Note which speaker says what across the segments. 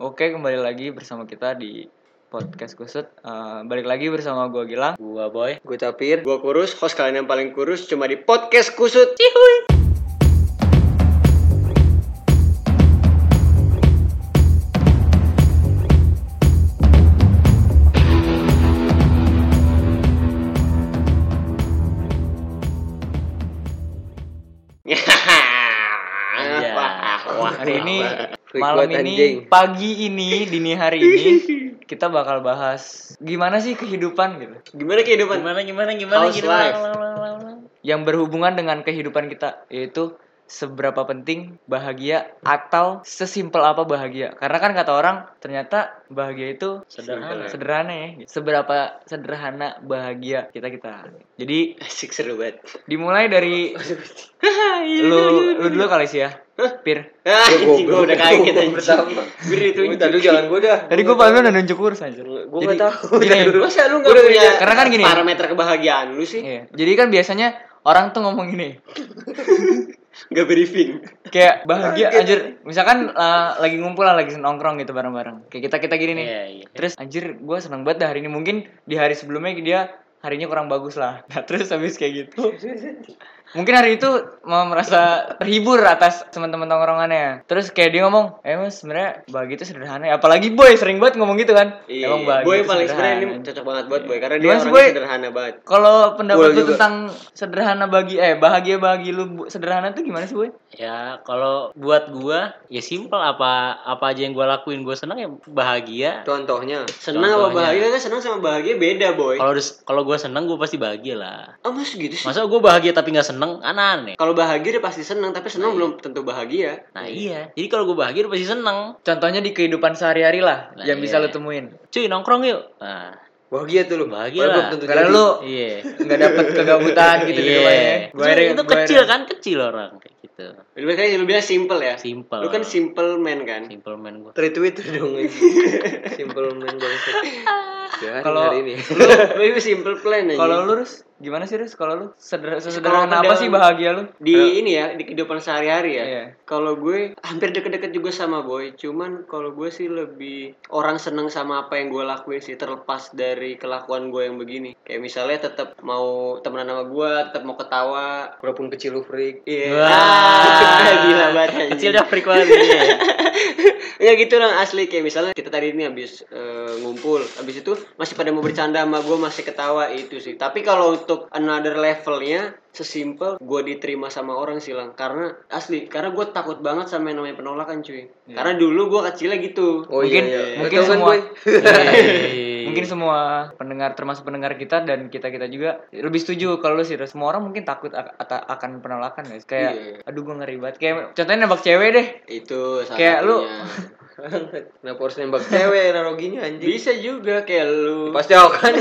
Speaker 1: Oke, kembali lagi bersama kita di podcast kusut. Eh, balik lagi bersama gua Gilang.
Speaker 2: Gua boy.
Speaker 3: Gue Tapir, gue kurus, host kalian yang paling kurus cuma di podcast kusut.
Speaker 2: Iya.
Speaker 3: Wah, wah,
Speaker 1: Hari
Speaker 3: wah,
Speaker 1: ini
Speaker 3: wah. Freak
Speaker 1: malam
Speaker 3: banget,
Speaker 1: ini,
Speaker 3: anjing.
Speaker 1: pagi ini, dini hari ini kita bakal bahas gimana sih kehidupan gitu.
Speaker 3: gimana kehidupan?
Speaker 2: Gimana gimana gimana
Speaker 3: How's life?
Speaker 1: Yang berhubungan dengan kehidupan kita yaitu seberapa penting bahagia atau sesimpel apa bahagia. Karena kan kata orang ternyata bahagia itu
Speaker 2: Sederhana.
Speaker 1: sederhana ya. Seberapa sederhana bahagia kita-kita. Jadi
Speaker 3: Asik seru banget.
Speaker 1: dimulai dari lu lu dulu kali sih ya. Pir.
Speaker 3: Ah, anjing gue udah kaget anjing.
Speaker 2: Pertama.
Speaker 3: Bir itu
Speaker 2: Udah lu jalan gua dah.
Speaker 1: Tadi gue paling udah nunjuk kurus anjir.
Speaker 2: Gua
Speaker 1: Jadi,
Speaker 2: nggak tahu.
Speaker 1: gini,
Speaker 2: Udah dulu.
Speaker 3: Masa lu
Speaker 1: Gua
Speaker 3: gak
Speaker 1: udah
Speaker 3: punya
Speaker 1: punya- karena kan gini.
Speaker 3: Iya, parameter kebahagiaan lu sih?
Speaker 1: Iya. Jadi kan biasanya orang tuh ngomong gini,
Speaker 3: Gak briefing.
Speaker 1: kayak bahagia anjir. Misalkan eh, lagi ngumpul lah, lagi nongkrong gitu bareng-bareng. Kayak kita-kita gini nih.
Speaker 2: Iya, iya.
Speaker 1: Terus anjir gue seneng banget dah hari ini. Mungkin di hari sebelumnya dia harinya kurang bagus lah. Nah, terus habis kayak gitu. Mungkin hari itu mau merasa terhibur atas teman-teman tongkrongannya. Terus kayak dia ngomong, emang sebenarnya bahagia itu sederhana. ya." Apalagi boy sering banget ngomong gitu kan.
Speaker 2: Iya,
Speaker 1: Emang bahagia. itu
Speaker 3: Boy paling
Speaker 1: sederhana.
Speaker 3: sebenarnya ini cocok banget buat boy karena dia
Speaker 1: Gimana sih,
Speaker 3: orangnya
Speaker 1: Boy?
Speaker 3: sederhana banget.
Speaker 1: Kalau pendapat
Speaker 3: Gua
Speaker 1: lu
Speaker 3: juga.
Speaker 1: tentang sederhana bagi eh bahagia bagi lu Bu, sederhana tuh gimana sih, Boy?
Speaker 2: Ya, kalau buat gua ya simpel apa apa aja yang gua lakuin gua senang ya bahagia.
Speaker 3: Contohnya, senang apa
Speaker 2: Contohnya.
Speaker 3: bahagia? Kan senang sama bahagia beda, boy.
Speaker 2: Kalau des- kalau gua senang gua pasti bahagia lah.
Speaker 3: Ah, mas gitu sih.
Speaker 2: Masa gua bahagia tapi nggak seneng? Kan aneh. iya.
Speaker 3: Kalau bahagia dia pasti senang, tapi senang belum tentu bahagia.
Speaker 2: Nah, iya. Jadi kalau gua bahagia udah pasti seneng.
Speaker 1: Contohnya di kehidupan sehari-hari lah
Speaker 2: Nah,
Speaker 1: yang bisa
Speaker 2: iya.
Speaker 1: lu temuin.
Speaker 2: Cuy, nongkrong yuk. Nah,
Speaker 3: Bahagia tuh lu.
Speaker 2: Bahagia
Speaker 3: Walaupun
Speaker 2: lah.
Speaker 3: tentu
Speaker 1: Karena
Speaker 3: jadi.
Speaker 1: lu
Speaker 2: iya.
Speaker 1: nggak dapet kegabutan gitu di
Speaker 2: Iya.
Speaker 1: rumahnya.
Speaker 2: Itu, itu kecil kan, kecil orang kayak gitu.
Speaker 3: Lebih kayak ya. lu bilang simple ya.
Speaker 2: Simple.
Speaker 3: Lu kan simple man kan.
Speaker 2: Simple man gua.
Speaker 3: Retweet dong. simple man bangsat.
Speaker 1: Kalau- hari
Speaker 3: ini. Lu itu simple plan aja.
Speaker 1: Kalau lu Rus, gimana sih Rus? Kalau lu sederhana,
Speaker 3: Kalau
Speaker 1: sederhana
Speaker 3: aku
Speaker 1: apa
Speaker 3: dalam-
Speaker 1: sih bahagia lu?
Speaker 3: di ini ya di kehidupan sehari-hari ya.
Speaker 1: Iya.
Speaker 3: Kalau gue hampir deket-deket juga sama boy, cuman kalau gue sih lebih orang seneng sama apa yang gue lakuin sih terlepas dari kelakuan gue yang begini. Kayak misalnya tetap mau temenan sama gue, tetap mau ketawa walaupun kecil lu freak. Iya.
Speaker 2: Wah.
Speaker 3: Gila banget. anjing.
Speaker 2: Ah. Kecil dah freak banget. iya.
Speaker 3: Enggak gitu orang asli kayak misalnya kita tadi ini habis eh, ngumpul, habis itu masih pada mau bercanda sama gue masih ketawa itu sih. Tapi kalau untuk another levelnya sesimpel gue diterima sama orang sih lang karena asli karena gue takut banget sama yang namanya penolakan cuy. Karena dulu gue kecilnya gitu.
Speaker 1: Oh, Iya. Mungkin- iya, iya. mungkin
Speaker 3: Betul kan,
Speaker 1: semua-
Speaker 3: Boy?
Speaker 2: Iya.
Speaker 1: Mungkin semua pendengar termasuk pendengar kita dan kita-kita juga lebih setuju kalau lu sih Rus. Semua orang mungkin takut ak- ata- akan penolakan guys. Kayak aduh gua ngeri banget. Kayak contohnya nembak cewek deh.
Speaker 3: itu salah
Speaker 1: Kayak lu-
Speaker 3: satunya.
Speaker 4: Kenapa harus nembak cewek analoginya anjing?
Speaker 3: bisa juga kayak lu.
Speaker 4: Pasti aku kan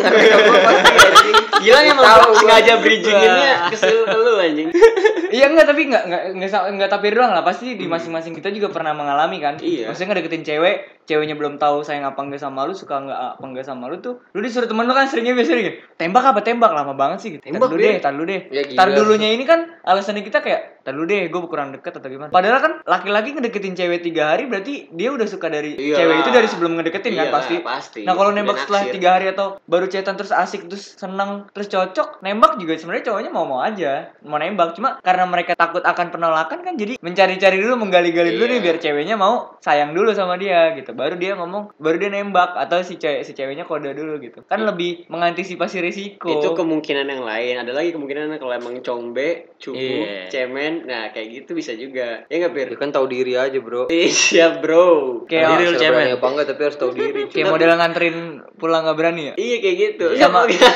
Speaker 3: Gila emang gua sengaja bridginginnya kesel lu anjing.
Speaker 1: Iya enggak tapi enggak enggak enggak, sa- enggak tapir doang lah pasti di masing-masing kita juga pernah mengalami kan.
Speaker 3: Hmm. Iya.
Speaker 1: Maksudnya ngedeketin cewek, ceweknya belum tahu sayang apa enggak sama lu, suka enggak apa enggak sama lu tuh. Lu disuruh temen lu kan seringnya biasanya gitu. Tembak apa tembak lama banget sih gitu.
Speaker 3: Tembak,
Speaker 1: Tar dulu
Speaker 3: Bin.
Speaker 1: deh, tar dulu deh.
Speaker 4: Ya, gila.
Speaker 1: tar dulunya ini kan alasannya kita kayak tar dulu deh, gue kurang deket atau gimana. Padahal kan laki-laki ngedeketin cewek tiga hari berarti dia udah suka dari
Speaker 3: Iyalah.
Speaker 1: cewek itu dari sebelum ngedeketin kan
Speaker 3: Iyalah,
Speaker 1: pasti.
Speaker 3: Iya. pasti.
Speaker 1: Nah kalau
Speaker 3: Udah
Speaker 1: nembak setelah
Speaker 3: naksir.
Speaker 1: tiga hari atau baru cetan terus asik terus seneng terus cocok nembak juga sebenarnya cowoknya mau mau aja mau nembak cuma karena mereka takut akan penolakan kan jadi mencari-cari dulu menggali-gali dulu
Speaker 3: Iya.
Speaker 1: nih biar ceweknya mau sayang dulu sama dia gitu baru dia ngomong baru dia nembak atau si cewek si ceweknya kode dulu gitu kan lebih mengantisipasi risiko
Speaker 3: Itu kemungkinan yang lain. Ada lagi kemungkinan kalau emang combe, cupu,
Speaker 2: Iya.
Speaker 3: cemen. Nah, kayak gitu bisa juga. Ya nggak, Pir?
Speaker 4: kan tahu diri aja, Bro.
Speaker 3: Ih, Siap, bro.
Speaker 1: kayak
Speaker 4: Jadi
Speaker 2: lu
Speaker 4: lu
Speaker 2: cemen.
Speaker 4: Apa enggak tapi harus tahu diri.
Speaker 1: kayak model nganterin pulang nggak berani ya
Speaker 3: Iya, kayak gitu.
Speaker 1: sama
Speaker 3: Iya,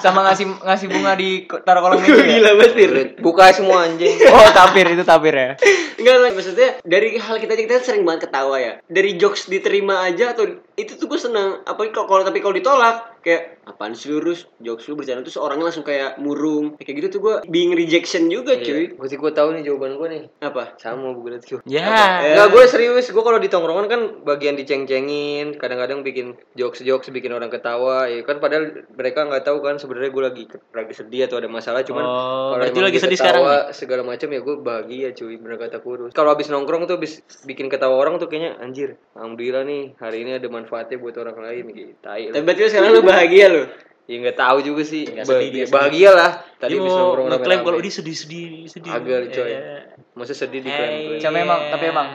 Speaker 1: sama ngasih ngasih bunga di ko- taruh kolong
Speaker 3: kok
Speaker 1: meja ya?
Speaker 3: Gila banget, Pir.
Speaker 4: Buka semua anjing.
Speaker 1: oh tapir itu tapir ya
Speaker 3: Enggak, lah. maksudnya dari hal kita aja, kita sering banget ketawa ya. Dari jokes diterima aja atau itu tuh gue seneng. Apalagi kalau kalau- tapi kalau ditolak kayak apaan sih lurus jokes lu bercanda terus orangnya langsung kayak murung kayak gitu tuh gue being rejection juga
Speaker 4: Iya.
Speaker 3: cuy
Speaker 4: Berarti gue tahu nih jawaban gue nih.
Speaker 3: apa
Speaker 4: Sama gue liat Q.
Speaker 2: Ya.
Speaker 3: Eh.
Speaker 4: Enggak, gue serius. Gue kalau di tongkrongan kan bagian diceng-cengin, kadang-kadang bikin jokes-jokes, bikin orang ketawa. Ya kan padahal mereka nggak tahu kan sebenarnya gue lagi lagi sedih atau ada masalah. Cuman
Speaker 2: Oh,
Speaker 4: kalau
Speaker 2: berarti
Speaker 4: emang
Speaker 2: lagi
Speaker 4: dia
Speaker 2: sedih
Speaker 4: ketawa,
Speaker 2: sekarang
Speaker 4: Segala macam ya gue bahagia cuy, bener kata kurus. Kalau abis nongkrong tuh abis bikin ketawa orang tuh kayaknya anjir. Alhamdulillah nih hari ini ada manfaatnya buat orang lain gitu. Tai lah.
Speaker 3: tapi berarti lu sekarang lu bahagia lu
Speaker 4: Ya nggak tahu juga sih.
Speaker 2: Nggak
Speaker 4: Bah-
Speaker 2: sedih dia, sedih.
Speaker 4: bahagia lah. Tadi
Speaker 2: dia
Speaker 4: abis
Speaker 2: mau
Speaker 4: nongkrong
Speaker 2: ngeklaim kalau
Speaker 4: rame-rame.
Speaker 2: dia sedih-sedih sedih.
Speaker 4: Agak, coy.
Speaker 2: Eh,
Speaker 4: Masa sedih diklaim. klaim
Speaker 1: Cuma emang- tapi emang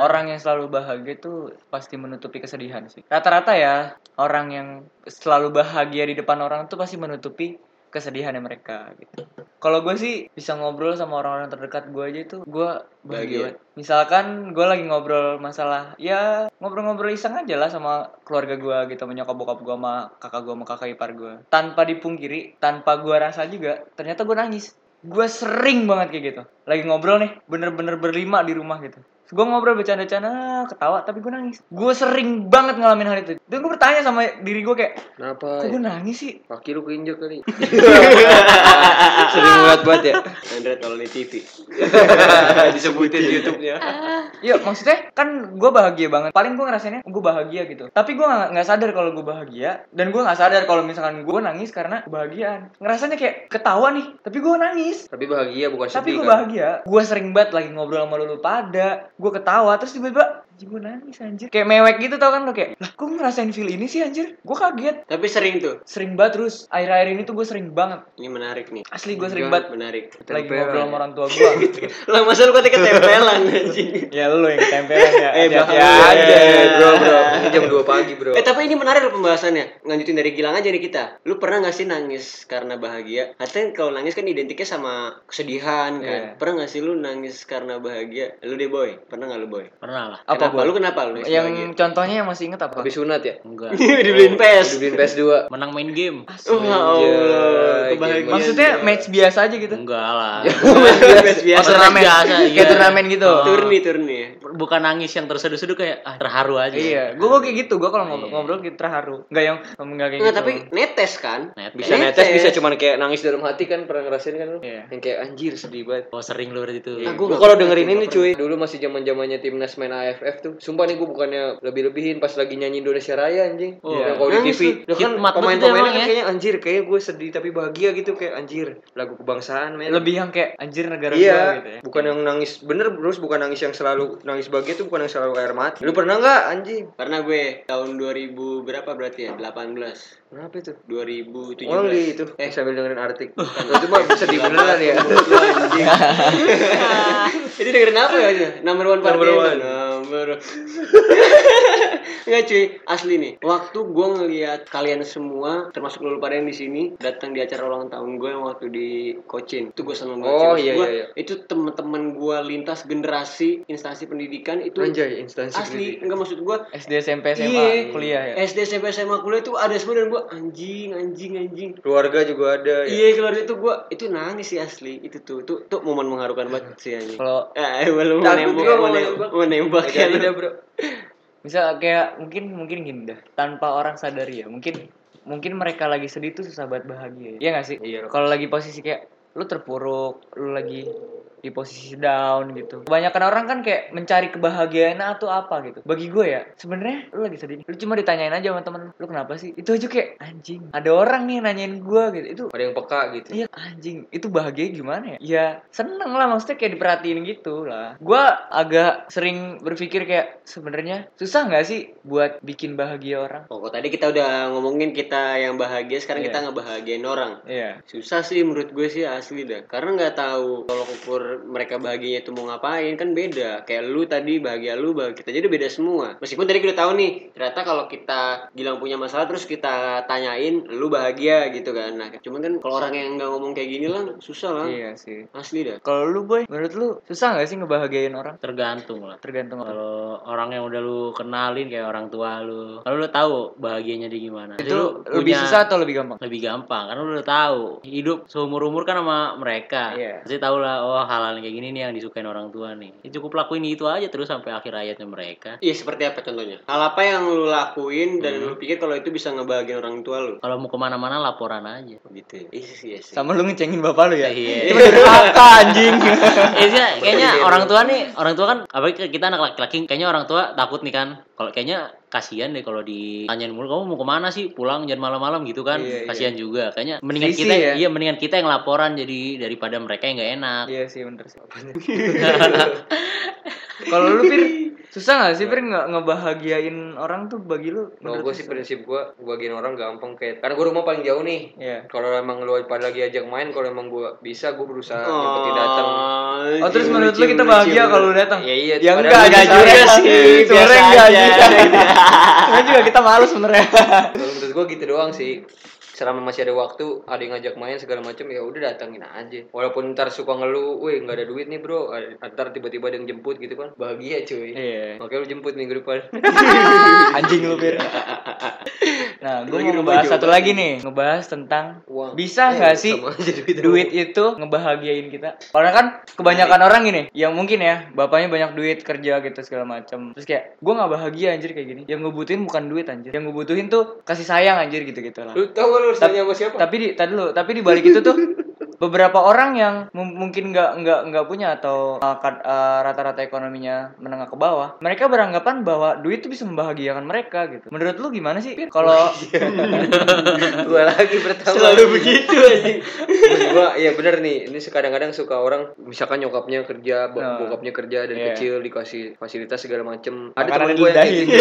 Speaker 1: Orang yang selalu bahagia tuh pasti menutupi kesedihan sih. Rata-rata ya orang yang selalu bahagia di depan orang tuh pasti menutupi kesedihannya mereka gitu. Kalau gue sih bisa ngobrol sama orang-orang terdekat gue aja tuh gue
Speaker 3: Bahagia.
Speaker 1: bahagia. banget.
Speaker 4: Iya.
Speaker 1: Misalkan gue lagi ngobrol masalah ya ngobrol-ngobrol iseng aja lah sama keluarga gue gitu, sama nyokap bokap gue, sama kakak gue, sama kakak ipar gue. Tanpa dipungkiri, tanpa gue rasa juga, ternyata gue nangis. Gue sering banget kayak gitu. Lagi ngobrol nih, bener-bener berlima di rumah gitu gue ngobrol bercanda-bercanda ketawa tapi gue nangis gue sering banget ngalamin hal itu dan gue bertanya sama diri gue kayak
Speaker 4: Kenapa?
Speaker 1: kok
Speaker 4: ya?
Speaker 1: gue nangis sih
Speaker 4: Kaki lu keinjak kali. Sering banget banget ya.
Speaker 3: Andre kalau di TV
Speaker 4: Disebutin di YouTube-nya.
Speaker 1: Iya maksudnya kan gue bahagia banget paling gue ngerasainnya gue bahagia gitu tapi gue nggak nggak sadar kalau gue bahagia dan gue nggak sadar kalau misalkan gue nangis karena kebahagiaan ngerasanya kayak ketawa nih tapi gue nangis
Speaker 4: Tapi bahagia bukan
Speaker 1: tapi
Speaker 4: sedih
Speaker 1: gue
Speaker 4: kan?
Speaker 1: bahagia gue sering banget lagi ngobrol sama lulu pada gue ketawa terus tiba-tiba gue nangis anjir kayak mewek gitu tau kan lo kayak lah gue ngerasain feel ini sih anjir gue kaget
Speaker 3: tapi sering tuh
Speaker 1: sering banget terus akhir-akhir ini tuh gue sering banget
Speaker 3: ini menarik nih
Speaker 1: asli gue sering banget
Speaker 3: menarik
Speaker 1: lagi
Speaker 4: Tempelan
Speaker 1: ngobrol
Speaker 4: ya.
Speaker 1: sama orang tua gue
Speaker 3: lah masa lu katanya ketempelan anjing
Speaker 1: ya lu yang tempelan ya
Speaker 3: Eh,
Speaker 1: Hati-hati
Speaker 4: Ya
Speaker 3: belakang
Speaker 1: aja.
Speaker 4: aja, bro, bro. Ini jam 2 pagi, bro.
Speaker 3: Eh tapi ini menarik loh pembahasannya. Lanjutin dari Gilang aja nih kita. Lu pernah gak sih nangis karena bahagia? Katanya kalau nangis kan identiknya sama kesedihan
Speaker 1: Iya.
Speaker 3: kan. Pernah gak sih lu nangis karena bahagia? Lu deh boy, pernah gak lu boy?
Speaker 2: Pernah lah.
Speaker 1: apa
Speaker 3: kenapa?
Speaker 1: gua?
Speaker 3: Lu kenapa lu nangis
Speaker 1: yang
Speaker 3: bahagia?
Speaker 1: contohnya yang masih inget apa
Speaker 4: Habis sunat ya?
Speaker 2: Enggak.
Speaker 3: Dibeliin PS.
Speaker 4: Dibeliin PS2.
Speaker 2: Menang main game.
Speaker 3: Wah Allah,
Speaker 1: Iya,
Speaker 3: kebahagiaan.
Speaker 1: maksudnya match biasa aja
Speaker 4: Hmm,
Speaker 1: gitu
Speaker 2: Enggak lah.
Speaker 3: PS
Speaker 1: Oh,
Speaker 3: biasa.
Speaker 1: turnamen
Speaker 2: biasa,
Speaker 1: kayak
Speaker 2: iya.
Speaker 1: turnamen gitu
Speaker 3: Turni turni ya.
Speaker 2: Bukan nangis yang terseduh-seduh kayak ah, terharu aja.
Speaker 1: Iya, gue kayak gitu, gue kalau
Speaker 4: Iya.
Speaker 1: ngobrol, ngobrol gitu terharu Enggak yang, enggak kayak
Speaker 3: Enggak,
Speaker 1: gitu
Speaker 3: tapi netes kan?
Speaker 2: Netes.
Speaker 4: Bisa netes, bisa cuman kayak nangis dalam hati kan pernah ngerasain kan lu?
Speaker 1: Iya.
Speaker 4: Yang kayak anjir sedih banget.
Speaker 2: Oh sering lu berarti itu.
Speaker 3: Nah, gua
Speaker 4: Gue
Speaker 3: nggak
Speaker 4: kalau
Speaker 3: pernah
Speaker 4: dengerin
Speaker 3: tuh,
Speaker 4: ini
Speaker 3: nggak
Speaker 4: cuy, dulu masih zaman zamannya timnas main AFF tuh. Sumpah nih gue bukannya lebih-lebihin pas lagi nyanyi Indonesia Raya anjing.
Speaker 2: Oh.
Speaker 4: Yang kalau di
Speaker 3: Nangis
Speaker 4: TV,
Speaker 2: tuh.
Speaker 4: Lah kan
Speaker 2: Hikmat banget
Speaker 4: pemain-pemain
Speaker 2: emang
Speaker 4: kan
Speaker 2: ya.
Speaker 4: kayaknya anjir, kayak gue sedih tapi bahagia gitu kayak anjir. Lagu kebangsaan men.
Speaker 1: Lebih yang kayak anjir negara
Speaker 4: Iya,
Speaker 1: gua gitu ya
Speaker 4: bukan yang nangis bener terus bukan nangis yang selalu nangis bahagia itu bukan yang selalu air mata. Lu pernah nggak anjing?
Speaker 3: Pernah gue tahun 2000 berapa berarti ya? 18.
Speaker 4: Kenapa itu?
Speaker 3: 2017.
Speaker 4: Orang di itu
Speaker 3: Eh,
Speaker 4: sambil dengerin artik. itu mah sedih beneran ya.
Speaker 3: Itu dengerin apa ya? Aja? Number one party.
Speaker 4: Number
Speaker 3: Number
Speaker 4: one.
Speaker 3: Enggak cuy, asli nih. Waktu gue ngeliat kalian semua, termasuk lu pada yang di sini, datang di acara ulang tahun gue yang waktu di Cochin. Itu gue seneng banget. cuy.
Speaker 4: Oh,
Speaker 3: Maksud
Speaker 4: iya,
Speaker 3: gua,
Speaker 4: iya, iya.
Speaker 3: Itu teman-teman gue lintas generasi, instansi pendidikan itu
Speaker 4: Anjay, instansi
Speaker 3: asli.
Speaker 4: pendidikan.
Speaker 3: Enggak maksud iya. gue.
Speaker 1: SD, SMP, SMA, kuliah ya
Speaker 3: SD, SMP, SMA, kuliah itu ada semua dan gue anjing, anjing, anjing.
Speaker 4: Keluarga juga ada ya.
Speaker 3: Iya keluar itu gua itu nangis sih asli itu tuh tuh tuh momen mengharukan banget
Speaker 4: Iya.
Speaker 3: sih anjing.
Speaker 1: Kalau-
Speaker 3: eh belum
Speaker 4: Takut
Speaker 3: menembak
Speaker 4: gua mau
Speaker 3: menembak
Speaker 4: nembak.
Speaker 3: menembak
Speaker 4: Nggak
Speaker 3: ya
Speaker 4: jadi
Speaker 3: lu.
Speaker 4: dah, Bro.
Speaker 1: Misal kayak mungkin mungkin gini dah, tanpa orang sadari ya. Mungkin mungkin mereka lagi sedih tuh susah banget bahagia. Iya nggak sih?
Speaker 4: Iya.
Speaker 1: Kalau lagi posisi kayak lu terpuruk, lu lagi di posisi down gitu. Kebanyakan orang kan kayak mencari kebahagiaan atau apa gitu. Bagi gue ya, sebenarnya lu lagi sedih. Lu cuma ditanyain aja sama temen lu, lu kenapa sih? Itu aja kayak anjing. Ada orang nih yang nanyain gue gitu. Itu
Speaker 4: Ada yang peka gitu.
Speaker 1: Iya anjing, itu bahagia gimana ya? Ya seneng lah maksudnya kayak diperhatiin gitu lah. Gua agak sering berpikir kayak sebenarnya susah nggak sih buat bikin bahagia orang?
Speaker 3: Pokok Oh, tadi kita udah ngomongin kita yang bahagia sekarang
Speaker 1: Iya.
Speaker 3: kita ngebahagiain orang.
Speaker 1: Iya.
Speaker 3: Susah sih menurut gue sih asli dah. Karena nggak tahu kalau ukur mereka bahagianya itu mau ngapain kan beda. Kayak lu tadi bahagia lu bahagia kita jadi beda semua. Meskipun tadi kita tahu nih ternyata kalau kita bilang punya masalah terus kita tanyain lu bahagia gitu kan. Nah, cuman kan kalau orang yang nggak ngomong kayak gini lah susah lah.
Speaker 1: Iya sih.
Speaker 3: Asli dah.
Speaker 1: Kalau lu boy, menurut lu susah nggak sih ngebahagiain orang?
Speaker 2: Tergantung lah.
Speaker 1: Tergantung orang.
Speaker 2: Kalau orang yang udah lu kenalin kayak orang tua lu, kalau lu tahu bahagianya dia gimana. Jadi lu
Speaker 1: Itu lebih
Speaker 2: punya-
Speaker 1: susah atau lebih gampang?
Speaker 2: lebih gampang karena lu udah tahu hidup seumur umur kan sama mereka
Speaker 1: Iya.
Speaker 2: pasti tahu lah oh hal hal-hal kayak gini nih yang disukain orang tua nih ya, cukup lakuin itu aja terus sampai akhir hayatnya mereka
Speaker 3: Iya seperti apa contohnya? Hal apa yang lu lakuin dan
Speaker 1: Hmm.
Speaker 3: lu pikir kalau itu bisa ngebahagiain orang tua lu?
Speaker 2: kalau mau kemana-mana laporan aja
Speaker 3: Gitu. Iya sih, iya sih.
Speaker 1: Sama lu ngecengin bapak lu ya?
Speaker 2: Iya.
Speaker 1: Itu neraka anjing.
Speaker 2: Eh, sih, kayaknya orang tua nih, orang tua kan apalagi kita anak laki-laki kayaknya orang tua takut nih kan. Kalau kayaknya kasihan deh kalau ditanyain mulu kamu mau kemana sih pulang jangan malam-malam gitu kan
Speaker 4: Iya, iya.
Speaker 2: kasihan juga kayaknya mendingan
Speaker 1: Selisih
Speaker 2: kita
Speaker 1: ya?
Speaker 2: iya mendingan kita yang laporan jadi daripada mereka yang nggak enak
Speaker 1: Iya sih bener sih. Kalau lu Pir, susah gak sih Pir nge- ngebahagiain orang tuh bagi lu?
Speaker 4: Kalau
Speaker 1: menurut
Speaker 4: gue
Speaker 1: lu
Speaker 4: sih
Speaker 1: susah?
Speaker 4: prinsip gue, bagian orang gampang kayak karena gue rumah paling jauh nih.
Speaker 1: Iya.
Speaker 4: Kalau emang lu pada lagi ajak main, kalau emang gue bisa, gue berusaha
Speaker 3: Oh,
Speaker 4: nyempetin datang.
Speaker 1: Oh terus
Speaker 3: Iya,
Speaker 1: menurut lu kita bahagia kalau lu datang?
Speaker 4: Iya, iya,
Speaker 1: Ya
Speaker 4: padahal
Speaker 1: enggak,
Speaker 4: enggak
Speaker 1: jujur
Speaker 4: juga
Speaker 1: ya.
Speaker 3: sih,
Speaker 1: Sebenarnya
Speaker 3: biasa
Speaker 1: enggak
Speaker 3: aja.
Speaker 1: juga. Sebenarnya juga kita males sebenarnya.
Speaker 4: Kalau menurut gue gitu doang sih. Selama masih ada waktu, ada yang ngajak main segala macam ya udah datangin aja. Walaupun ntar suka ngeluh, weh nggak ada duit nih bro, Ah, ntar tiba-tiba ada yang jemput gitu kan, bahagia cuy.
Speaker 1: Iya.
Speaker 4: Makanya lu jemput minggu depan.
Speaker 1: Anjing lu Pir. Nah, gue mau ngebahas satu lagi nih, ngebahas tentang
Speaker 4: Uang. Eh,
Speaker 1: bisa nggak sih
Speaker 4: sama aja Gitu. duit
Speaker 1: duit itu ngebahagiain kita? Karena kan kebanyakan orang gini, yang mungkin ya bapaknya banyak duit kerja gitu segala macam. Terus kayak gue nggak bahagia anjir kayak gini. Yang gue butuhin bukan duit anjir, yang gue butuhin tuh kasih sayang anjir gitu gitu lah.
Speaker 4: Lu tau gak lu harus nanya sama siapa?
Speaker 1: Tapi di tadi dulu, tapi di balik itu tuh beberapa orang yang mung- mungkin nggak nggak nggak punya atau uh, kad- uh, rata-rata ekonominya menengah ke bawah, mereka beranggapan bahwa duit itu bisa membahagiakan mereka gitu. Menurut lu gimana sih? Pir? Kalau
Speaker 4: gua lagi pertama selalu begitu aja gua ya bener nih ini kadang-kadang suka orang misalkan nyokapnya kerja bo-
Speaker 1: Nah.
Speaker 4: bokapnya kerja dari
Speaker 1: Iya.
Speaker 4: kecil dikasih fasilitas segala macem ada
Speaker 1: makanan
Speaker 4: temen gua yang
Speaker 1: diludahin.
Speaker 4: kayak gitu
Speaker 2: gitu.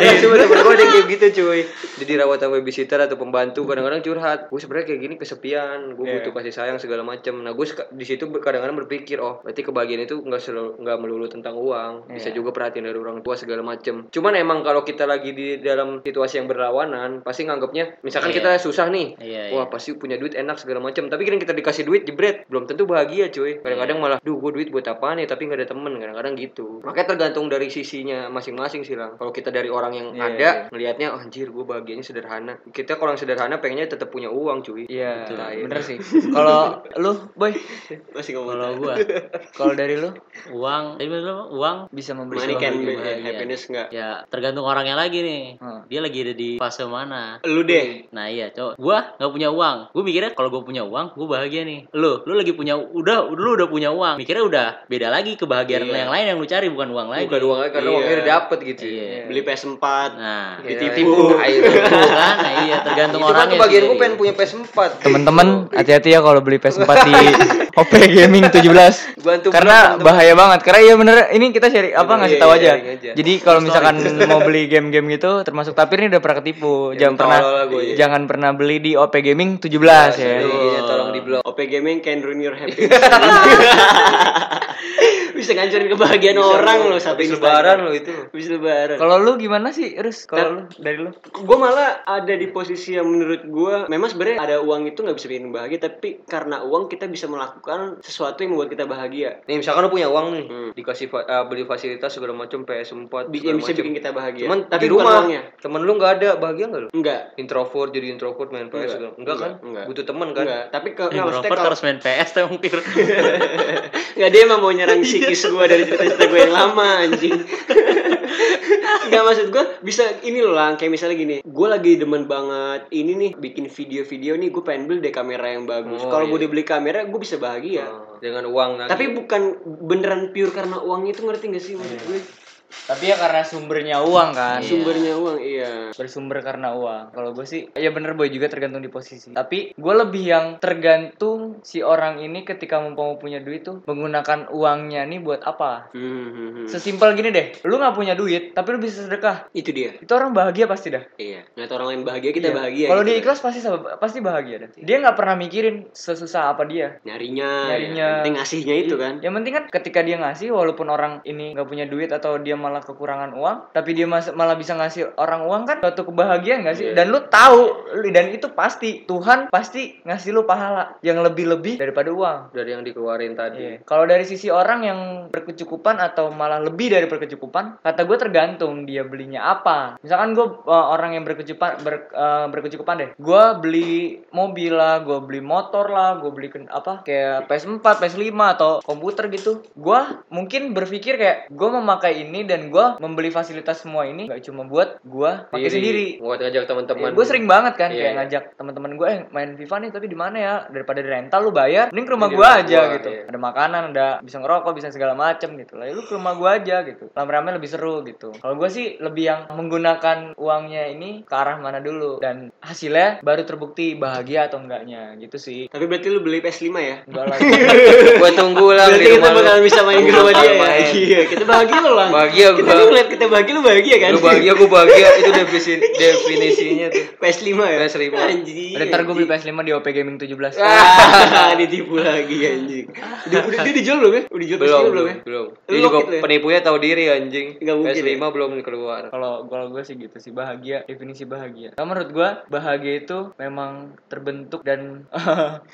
Speaker 4: Iya, cuma temen gua ada yang kayak gitu cuy jadi dirawat sama babysitter atau pembantu kadang-kadang curhat gue sebenarnya kayak gini kesepian gue
Speaker 1: Iya.
Speaker 4: butuh kasih sayang segala macem nah gue suka- di situ ber- kadang-kadang berpikir oh berarti kebahagiaan itu nggak selalu nggak melulu tentang uang bisa
Speaker 1: Iya.
Speaker 4: juga perhatian dari orang tua segala macem cuman emang kalau kita lagi di dalam situasi yang berlawanan pasti nganggapnya misalkan
Speaker 2: Iya.
Speaker 4: kita susah nih
Speaker 2: Iya,
Speaker 4: wah pasti punya duit enak segala macem tapi kadang kita dikasih duit jebret belum tentu bahagia cuy kadang-kadang malah duh gue duit buat apa nih tapi nggak ada temen kadang-kadang gitu makanya tergantung dari sisinya masing-masing sih lang kalau kita dari orang yang
Speaker 1: Iya,
Speaker 4: ada ngelihatnya "Oh, anjir gue bahagianya sederhana kita kalau yang sederhana pengennya tetap punya uang cuy Gitu.
Speaker 1: Iya,
Speaker 4: Betul.
Speaker 1: bener sih. Kalau lu, boy,
Speaker 3: Masih ngomong.
Speaker 2: kalau gua
Speaker 1: kalau dari lu
Speaker 2: uang tadi bener apa? uang
Speaker 1: bisa memberi
Speaker 3: Money
Speaker 1: sebuah
Speaker 3: can
Speaker 1: hidup.
Speaker 3: buy
Speaker 2: bahagia.
Speaker 3: happiness enggak?
Speaker 2: ya tergantung orangnya lagi nih
Speaker 1: Hmm.
Speaker 2: dia lagi ada di fase mana
Speaker 3: Lu deh.
Speaker 2: Nah iya cowok, gua nggak punya uang. Gua mikirnya kalau gua punya uang, gua bahagia nih. Lu, lu lagi punya udah, lu udah punya uang. Mikirnya udah beda lagi kebahagiaan yang
Speaker 4: Iya.
Speaker 2: lain yang lu cari bukan uang lagi.
Speaker 4: bukan uang karena
Speaker 3: Iya.
Speaker 4: uangnya udah dapet gitu
Speaker 2: Iya.
Speaker 3: Beli PS4.
Speaker 2: Nah,
Speaker 4: Iya,
Speaker 3: Ditipu.
Speaker 4: ayo.
Speaker 2: tuh kan, nah, iya tergantung
Speaker 4: Itu kan
Speaker 2: orangnya.
Speaker 4: kebahagiaan gue
Speaker 2: sendiri.
Speaker 4: pengen punya PS4
Speaker 1: Teman-teman hati-hati ya kalau beli PS4 di OP Gaming 17.
Speaker 4: Bantu
Speaker 1: Karena
Speaker 4: teman-teman.
Speaker 1: bahaya banget. Karena iya bener ini kita sharing apa
Speaker 4: Iya,
Speaker 1: ngasih
Speaker 4: iya,
Speaker 1: tahu aja.
Speaker 4: sharing aja.
Speaker 1: Jadi kalau misalkan mau beli game-game gitu termasuk Tapir ini udah pernah ketipu. Jangan
Speaker 4: tolol
Speaker 1: pernah
Speaker 4: lah gua, iya.
Speaker 1: jangan pernah beli di OP Gaming 17 ya.
Speaker 4: Iya, iya, tolong di blok
Speaker 3: OP Gaming can ruin your happiness. Bisa ngancurin kebahagiaan orang lo satu ini.
Speaker 4: Habis lebaran lo itu
Speaker 3: Habis lebaran.
Speaker 1: Kalau lu gimana sih, Rus? Kalau lu dari lu?
Speaker 3: gue malah ada di posisi yang menurut gue memang sebenarnya ada uang itu nggak bisa bikin bahagia tapi karena uang kita bisa melakukan sesuatu yang membuat kita bahagia
Speaker 4: Nih misalkan lu punya uang nih, dikasih fa- eh, beli fasilitas segala macam PS4
Speaker 3: Hmm. Bi-
Speaker 4: segala
Speaker 3: yang bisa
Speaker 4: macem.
Speaker 3: bikin kita bahagia
Speaker 4: Cuman
Speaker 3: tapi
Speaker 4: di
Speaker 3: bukan
Speaker 4: rumah
Speaker 3: uangnya
Speaker 4: temen lu nggak ada bahagia nggak lu?
Speaker 3: enggak
Speaker 4: Introvert jadi introvert main PS segala. Enggak kan?
Speaker 3: enggak.
Speaker 4: Butuh temen kan?
Speaker 3: enggak tapi ke
Speaker 2: Eh,
Speaker 3: nggak maksudnya
Speaker 2: Robert
Speaker 3: kalau
Speaker 2: harus main PS tuh emang pikir.
Speaker 3: nggak dia emang mau nyerang psikis gue dari cerita-cerita gue yang lama anjing nggak maksud gue bisa ini loh lang kayak misalnya gini gue lagi demen banget ini nih bikin video-video nih gue pengen beli deh kamera yang bagus
Speaker 4: Oh,
Speaker 3: kalau
Speaker 4: iya.
Speaker 3: gue udah beli kamera gue bisa bahagia
Speaker 4: Oh, Dengan uang lagi.
Speaker 3: Tapi bukan beneran pure karena uangnya itu ngerti gak
Speaker 4: Oh, iya.
Speaker 3: sih maksud gue?
Speaker 1: Tapi ya karena sumbernya uang kan.
Speaker 3: Sumbernya uang, iya.
Speaker 1: bersumber karena uang. Kalau
Speaker 4: gitu.
Speaker 1: gue sih ya bener boy juga tergantung di posisi. Tapi gue lebih yang tergantung si orang ini ketika mau punya duit tuh menggunakan uangnya nih buat apa?
Speaker 3: Hmm,
Speaker 1: Sesimpel gini deh, lu nggak punya duit tapi lu bisa sedekah.
Speaker 3: Itu dia.
Speaker 1: Itu orang bahagia pasti dah.
Speaker 3: Iya. Ngeliat orang lain bahagia kita
Speaker 1: Iya.
Speaker 3: bahagia.
Speaker 1: Kalau
Speaker 3: gitu
Speaker 1: dia
Speaker 3: kan.
Speaker 1: ikhlas pasti sab- pasti bahagia dah. Dia nggak pernah mikirin sesusah apa dia.
Speaker 3: nyarinya,
Speaker 1: Nyarinya.
Speaker 3: yang penting ngasihnya itu kan.
Speaker 1: Yang penting kan ketika dia ngasih walaupun orang ini nggak punya duit atau dia dia malah kekurangan uang tapi dia mas- malah bisa ngasih orang uang kan suatu kebahagiaan gak sih
Speaker 3: Iya.
Speaker 1: dan lu tahu lu- dan itu pasti Tuhan pasti ngasih lu pahala yang lebih-lebih daripada uang
Speaker 4: dari yang dikeluarin tadi.
Speaker 1: Iya. Kalau dari sisi orang yang berkecukupan atau malah lebih dari berkecukupan, kata gue tergantung dia belinya apa. Misalkan gue orang yang berkecukupan ber- eh, berkecukupan deh, gue beli mobil lah, gue beli motor lah, gue beli ken- apa kayak PS4, PS5 atau komputer gitu. Gue mungkin berpikir kayak gue memakai ini dan gue membeli fasilitas semua ini gak cuma buat gue
Speaker 3: Iya,
Speaker 1: pakai sendiri.
Speaker 4: Buat ngajak teman-teman.
Speaker 1: Gue sering banget kan
Speaker 4: Iya,
Speaker 1: kayak
Speaker 4: iya.
Speaker 1: ngajak teman-teman gue eh main FIFA nih tapi di mana ya daripada di rental lu bayar, mending ke rumah
Speaker 4: Mending
Speaker 1: gue
Speaker 4: rumah
Speaker 1: aja
Speaker 4: gua,
Speaker 1: gitu.
Speaker 4: iya.
Speaker 1: Ada makanan, ada bisa ngerokok, bisa segala macem gitu. Lah, lu ke rumah gue aja gitu. Rame-rame lebih seru gitu. Kalau gue sih lebih yang menggunakan uangnya ini ke arah mana dulu dan hasilnya baru terbukti bahagia atau enggaknya gitu sih.
Speaker 3: Tapi berarti lu beli PS5 ya?
Speaker 1: Enggak lah.
Speaker 4: Gua tunggu lah
Speaker 3: Berarti
Speaker 4: di
Speaker 3: kita
Speaker 4: rumah lu.
Speaker 3: bakal bisa main ke rumah dia ya?
Speaker 4: Main.
Speaker 3: Iya, kita bahagia loh lah.
Speaker 4: Bahagia
Speaker 3: Kita
Speaker 4: gua.
Speaker 3: tuh ngeliat kita bahagia, lu bahagia kan?
Speaker 4: Lu bahagia, gua bahagia. Itu definisi definisinya tuh.
Speaker 3: PS5 ya?
Speaker 4: PS5.
Speaker 3: Anjing.
Speaker 1: Udah, ntar gue
Speaker 4: Iya,
Speaker 1: beli PS5 di OP Gaming 17.
Speaker 3: Ah, ditipu lagi anjing. Dia, udah, dia dijual belum ya? Udah dijual PS5
Speaker 4: Belum,
Speaker 3: belum
Speaker 4: belum,
Speaker 3: ya?
Speaker 4: belum.
Speaker 3: Lu
Speaker 4: Ini juga
Speaker 3: lockit lu ya?
Speaker 4: penipunya tahu diri anjing.
Speaker 3: Nggak mungkin, ya?
Speaker 4: PS5 belum keluar.
Speaker 1: Kalau kalau gue sih gitu sih bahagia definisi bahagia. Kalau menurut gue bahagia itu memang terbentuk dan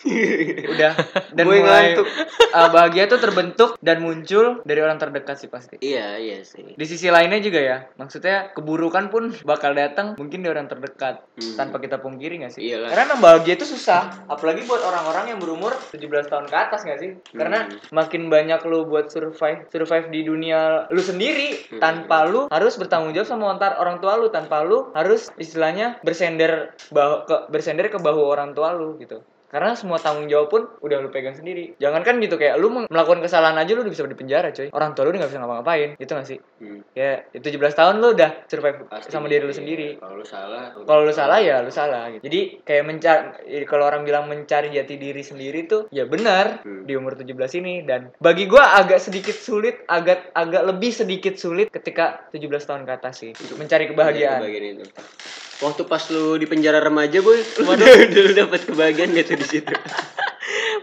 Speaker 3: ya?
Speaker 1: udah dan
Speaker 4: Gue
Speaker 1: mulai
Speaker 4: ngantuk.
Speaker 1: Ah, bahagia itu terbentuk dan muncul dari orang terdekat sih pasti.
Speaker 3: Iya, iya sih.
Speaker 1: Di sisi lainnya juga ya, maksudnya keburukan pun bakal datang mungkin dari orang terdekat tanpa kita pungkiri nggak sih?
Speaker 3: Iyalah.
Speaker 1: Karena emang bahagia itu susah, apalagi buat orang-orang yang berumur 17 tahun ke atas nggak sih? Karena makin banyak lu buat survive survive di dunia lu sendiri tanpa lu harus bertanggung jawab sama ontar orang tua lu tanpa lu harus istilahnya bersender bahu- ke bersender ke bahu orang tua lu gitu. Karena semua tanggung jawab pun udah lu pegang sendiri. Jangan kan gitu kayak lu meng- melakukan kesalahan aja lu udah bisa dipenjara, coy. Orang tua lu udah nggak bisa ngapa-ngapain. Gitu nggak sih?
Speaker 3: Hmm.
Speaker 1: Ya, 17 tahun lu udah survive sama diri lu sendiri.
Speaker 3: Kalau lu salah,
Speaker 1: Kalau lu salah ya lu salah gitu. Jadi kayak mencari kalau orang bilang mencari jati diri sendiri tuh ya benar di umur 17 ini dan bagi gua agak sedikit sulit, agak agak lebih sedikit sulit ketika 17 tahun ke atas sih mencari kebahagiaan.
Speaker 3: kebahagiaan itu. Waktu pas lu di penjara remaja, boy, lu udah lu dapat kebahagiaan gitu di situ.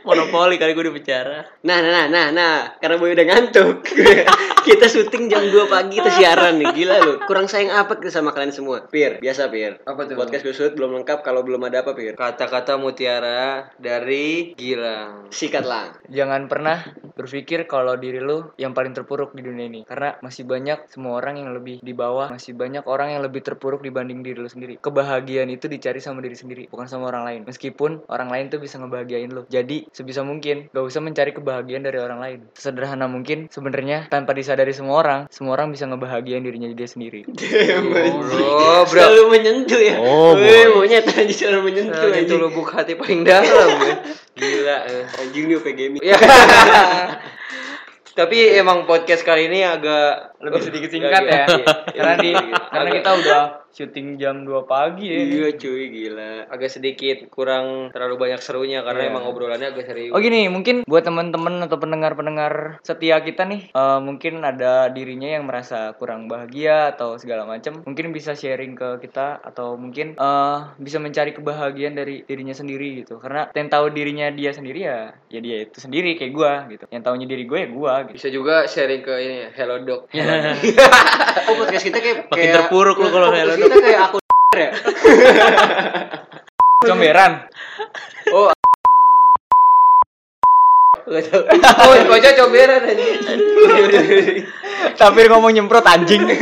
Speaker 2: monopoli kali gue di penjara
Speaker 3: Nah, nah, nah, nah, nah, karena boy udah ngantuk. kita syuting jam 2 pagi kita siaran nih, gila lu. Kurang sayang apa kita sama kalian semua? Pir, biasa Pir.
Speaker 4: Apa tuh?
Speaker 3: Podcast kusut belum lengkap kalau belum ada apa Pir.
Speaker 4: Kata-kata mutiara dari Gilang.
Speaker 3: Sikatlah.
Speaker 1: Jangan pernah berpikir kalau diri lu yang paling terpuruk di dunia ini karena masih banyak semua orang yang lebih di bawah, masih banyak orang yang lebih terpuruk dibanding diri lu sendiri. Kebahagiaan itu dicari sama diri sendiri, bukan sama orang lain. Meskipun orang lain tuh bisa ngebahagiain lu. Jadi sebisa mungkin gak usah mencari kebahagiaan dari orang lain. Sederhana mungkin sebenarnya tanpa disadari semua orang, semua orang bisa ngebahagiain dirinya dia sendiri.
Speaker 3: Iya.
Speaker 4: Oh, bro.
Speaker 3: Selalu menyentuh ya.
Speaker 2: Oh,
Speaker 3: Weh, monyet anjing selalu gitu menyentuh
Speaker 4: Itu
Speaker 3: anjing.
Speaker 4: lubuk hati paling dalam ya. Gila. eh.
Speaker 3: Anjing nih OPG ini.
Speaker 4: Ya. Tapi emang podcast kali ini agak
Speaker 1: Lebih sedikit singkat ya. Karena di karena kita udah syuting jam 2 pagi ya.
Speaker 3: Iya cuy, gila.
Speaker 4: agak sedikit kurang terlalu banyak serunya
Speaker 3: Iya.
Speaker 4: karena emang obrolannya agak serius.
Speaker 1: Oh gini, mungkin buat teman-teman atau pendengar-pendengar setia kita nih, eh, mungkin ada dirinya yang merasa kurang bahagia atau segala macam, mungkin bisa sharing ke kita atau mungkin eh, bisa mencari kebahagiaan dari dirinya sendiri gitu. Karena yang tahu dirinya dia sendiri ya, ya dia itu sendiri kayak gua gitu. Yang tahunya diri gue ya gua gitu.
Speaker 4: Bisa juga sharing ke ini ya, Hello Dog.
Speaker 3: Oh, podcast kita kayak
Speaker 2: Makin
Speaker 3: kayak-
Speaker 2: terpuruk lu kalau
Speaker 3: podcast
Speaker 2: Hello
Speaker 3: Kita kayak aku ya.
Speaker 1: Comberan.
Speaker 4: Gak tau. Oh, kocok comberan anjing.
Speaker 1: Tapi ngomong nyemprot anjing.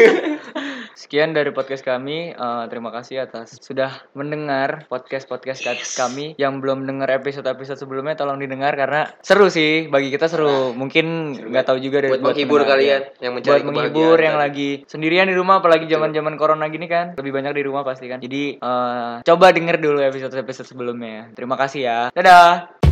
Speaker 1: Sekian dari podcast kami. Eh, terima kasih atas sudah mendengar podcast-podcast ka- kami. Yang belum dengar episode-episode sebelumnya tolong didengar karena seru sih bagi kita seru. Mungkin nggak tahu juga dari
Speaker 4: Nah. ya. Buat menghibur
Speaker 1: pendengar.
Speaker 4: kalian yang mencari
Speaker 1: buat menghibur
Speaker 4: kebahagiaan
Speaker 1: yang lagi sendirian di rumah apalagi zaman-zaman corona gini kan. Lebih banyak di rumah pasti kan. Jadi eh, coba denger dulu episode-episode sebelumnya. Terima kasih ya. Dadah.